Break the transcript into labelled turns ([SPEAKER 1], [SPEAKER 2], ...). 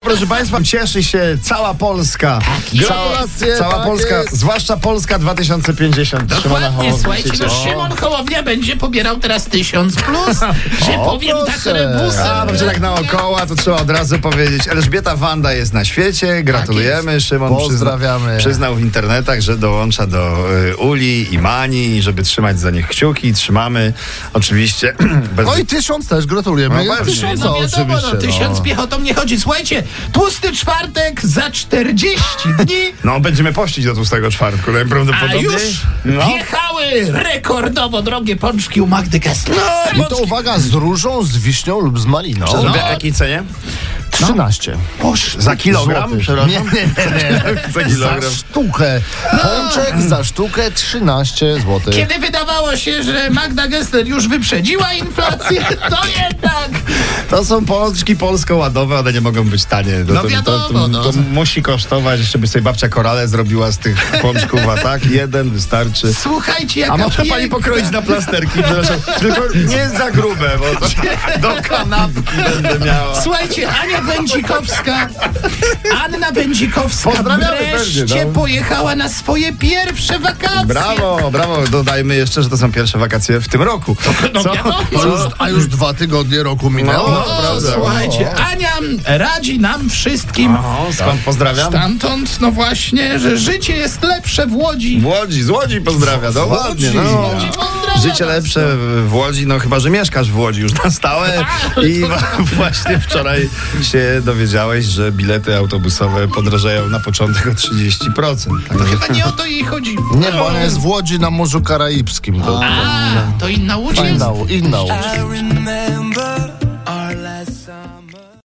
[SPEAKER 1] Proszę Państwa, cieszy się cała Polska. Cała,
[SPEAKER 2] Gratulacje,
[SPEAKER 1] cała
[SPEAKER 2] tak
[SPEAKER 1] Polska,
[SPEAKER 2] jest.
[SPEAKER 1] zwłaszcza Polska 2050. Szymona
[SPEAKER 3] Dokładnie,
[SPEAKER 1] Hołowni
[SPEAKER 3] słuchajcie,
[SPEAKER 1] się
[SPEAKER 3] no
[SPEAKER 1] cieszy.
[SPEAKER 3] Szymon Hołownia będzie pobierał teraz 1000 plus, że
[SPEAKER 2] O,
[SPEAKER 3] powiem tak
[SPEAKER 2] proszę.
[SPEAKER 1] A,
[SPEAKER 3] rebusem.
[SPEAKER 1] będzie tak naokoła, to trzeba od razu powiedzieć. Elżbieta Wanda jest na
[SPEAKER 3] Tak
[SPEAKER 1] świecie, gratulujemy. Szymon przyzna-
[SPEAKER 2] Pozdrawiamy.
[SPEAKER 1] przyznał w internetach, że dołącza do y, Uli i Mani, żeby trzymać za nich kciuki. Trzymamy oczywiście. bez...
[SPEAKER 2] No i tysiąc też, gratulujemy.
[SPEAKER 1] No pewnie.
[SPEAKER 2] tysiąca
[SPEAKER 3] No wiadomo,
[SPEAKER 2] oczywiście.
[SPEAKER 3] no, tysiąc piechotą nie chodzi. Słuchajcie, tłusty czwartek za 40 dni,
[SPEAKER 1] No, będziemy pościć do tłustego czwartku,
[SPEAKER 3] a
[SPEAKER 1] najprawdopodobniej. No.
[SPEAKER 3] już wjechały rekordowo drogie pączki u Magdy Kessler.
[SPEAKER 2] No. I to uwaga, z różą, z wiśnią lub z maliną.
[SPEAKER 1] No.
[SPEAKER 3] No.
[SPEAKER 1] W jakiej cenie?
[SPEAKER 2] 13.
[SPEAKER 3] Boż,
[SPEAKER 1] Za kilogram?
[SPEAKER 2] Złotych.
[SPEAKER 1] Przepraszam.
[SPEAKER 2] Nie, nie, nie.
[SPEAKER 1] Za
[SPEAKER 2] Za
[SPEAKER 1] kilogram.
[SPEAKER 2] sztukę. Pączek za sztukę 13 zł.
[SPEAKER 3] No. Kiedy wydawało się, że Magda Gessler już wyprzedziła inflację, to jednak
[SPEAKER 1] To są pączki polsko-ładowe, one nie mogą być tanie.
[SPEAKER 3] No
[SPEAKER 1] to, to, to,
[SPEAKER 3] wiadomo, no.
[SPEAKER 1] to musi kosztować, żeby sobie babcia korale zrobiła z tych pączków, a tak jeden wystarczy.
[SPEAKER 3] słuchajcie, jaka
[SPEAKER 1] A może pani
[SPEAKER 3] piękna-
[SPEAKER 1] pokroić na plasterki, przepraszam. Tylko nie za grube, bo to, do kanapki będę miała.
[SPEAKER 3] Słuchajcie, Ania Wędzikowska, Anna Wędzikowska
[SPEAKER 1] Pozdrawiamy
[SPEAKER 3] wreszcie
[SPEAKER 1] pewnie, no.
[SPEAKER 3] pojechała na swoje pierwsze wakacje.
[SPEAKER 1] Brawo, brawo. Dodajmy jeszcze, że to są pierwsze wakacje w tym roku.
[SPEAKER 3] No
[SPEAKER 1] Co?
[SPEAKER 3] wiadomo.
[SPEAKER 2] A już, a już dwa tygodnie roku minęło.
[SPEAKER 1] No.
[SPEAKER 3] O,
[SPEAKER 1] Prawda.
[SPEAKER 3] słuchajcie, Ania radzi nam wszystkim
[SPEAKER 1] O, skąd pozdrawiam?
[SPEAKER 3] stamtąd, no właśnie, że życie jest lepsze w Łodzi.
[SPEAKER 1] W Łodzi, z Łodzi pozdrawiam. No, ładnie, no.
[SPEAKER 3] Łodzi pozdrawiam.
[SPEAKER 1] Życie lepsze w Łodzi, no chyba, że mieszkasz w Łodzi już na stałe i wa- właśnie wczoraj się dowiedziałeś, że bilety autobusowe podrażają na początek o 30%.
[SPEAKER 3] To chyba nie o to jej chodzi.
[SPEAKER 2] Nie, bo ona jest w Łodzi na Morzu Karaibskim. To,
[SPEAKER 3] A, to inna Łódź jest.
[SPEAKER 2] inna, inna Łódź.
[SPEAKER 4] I remember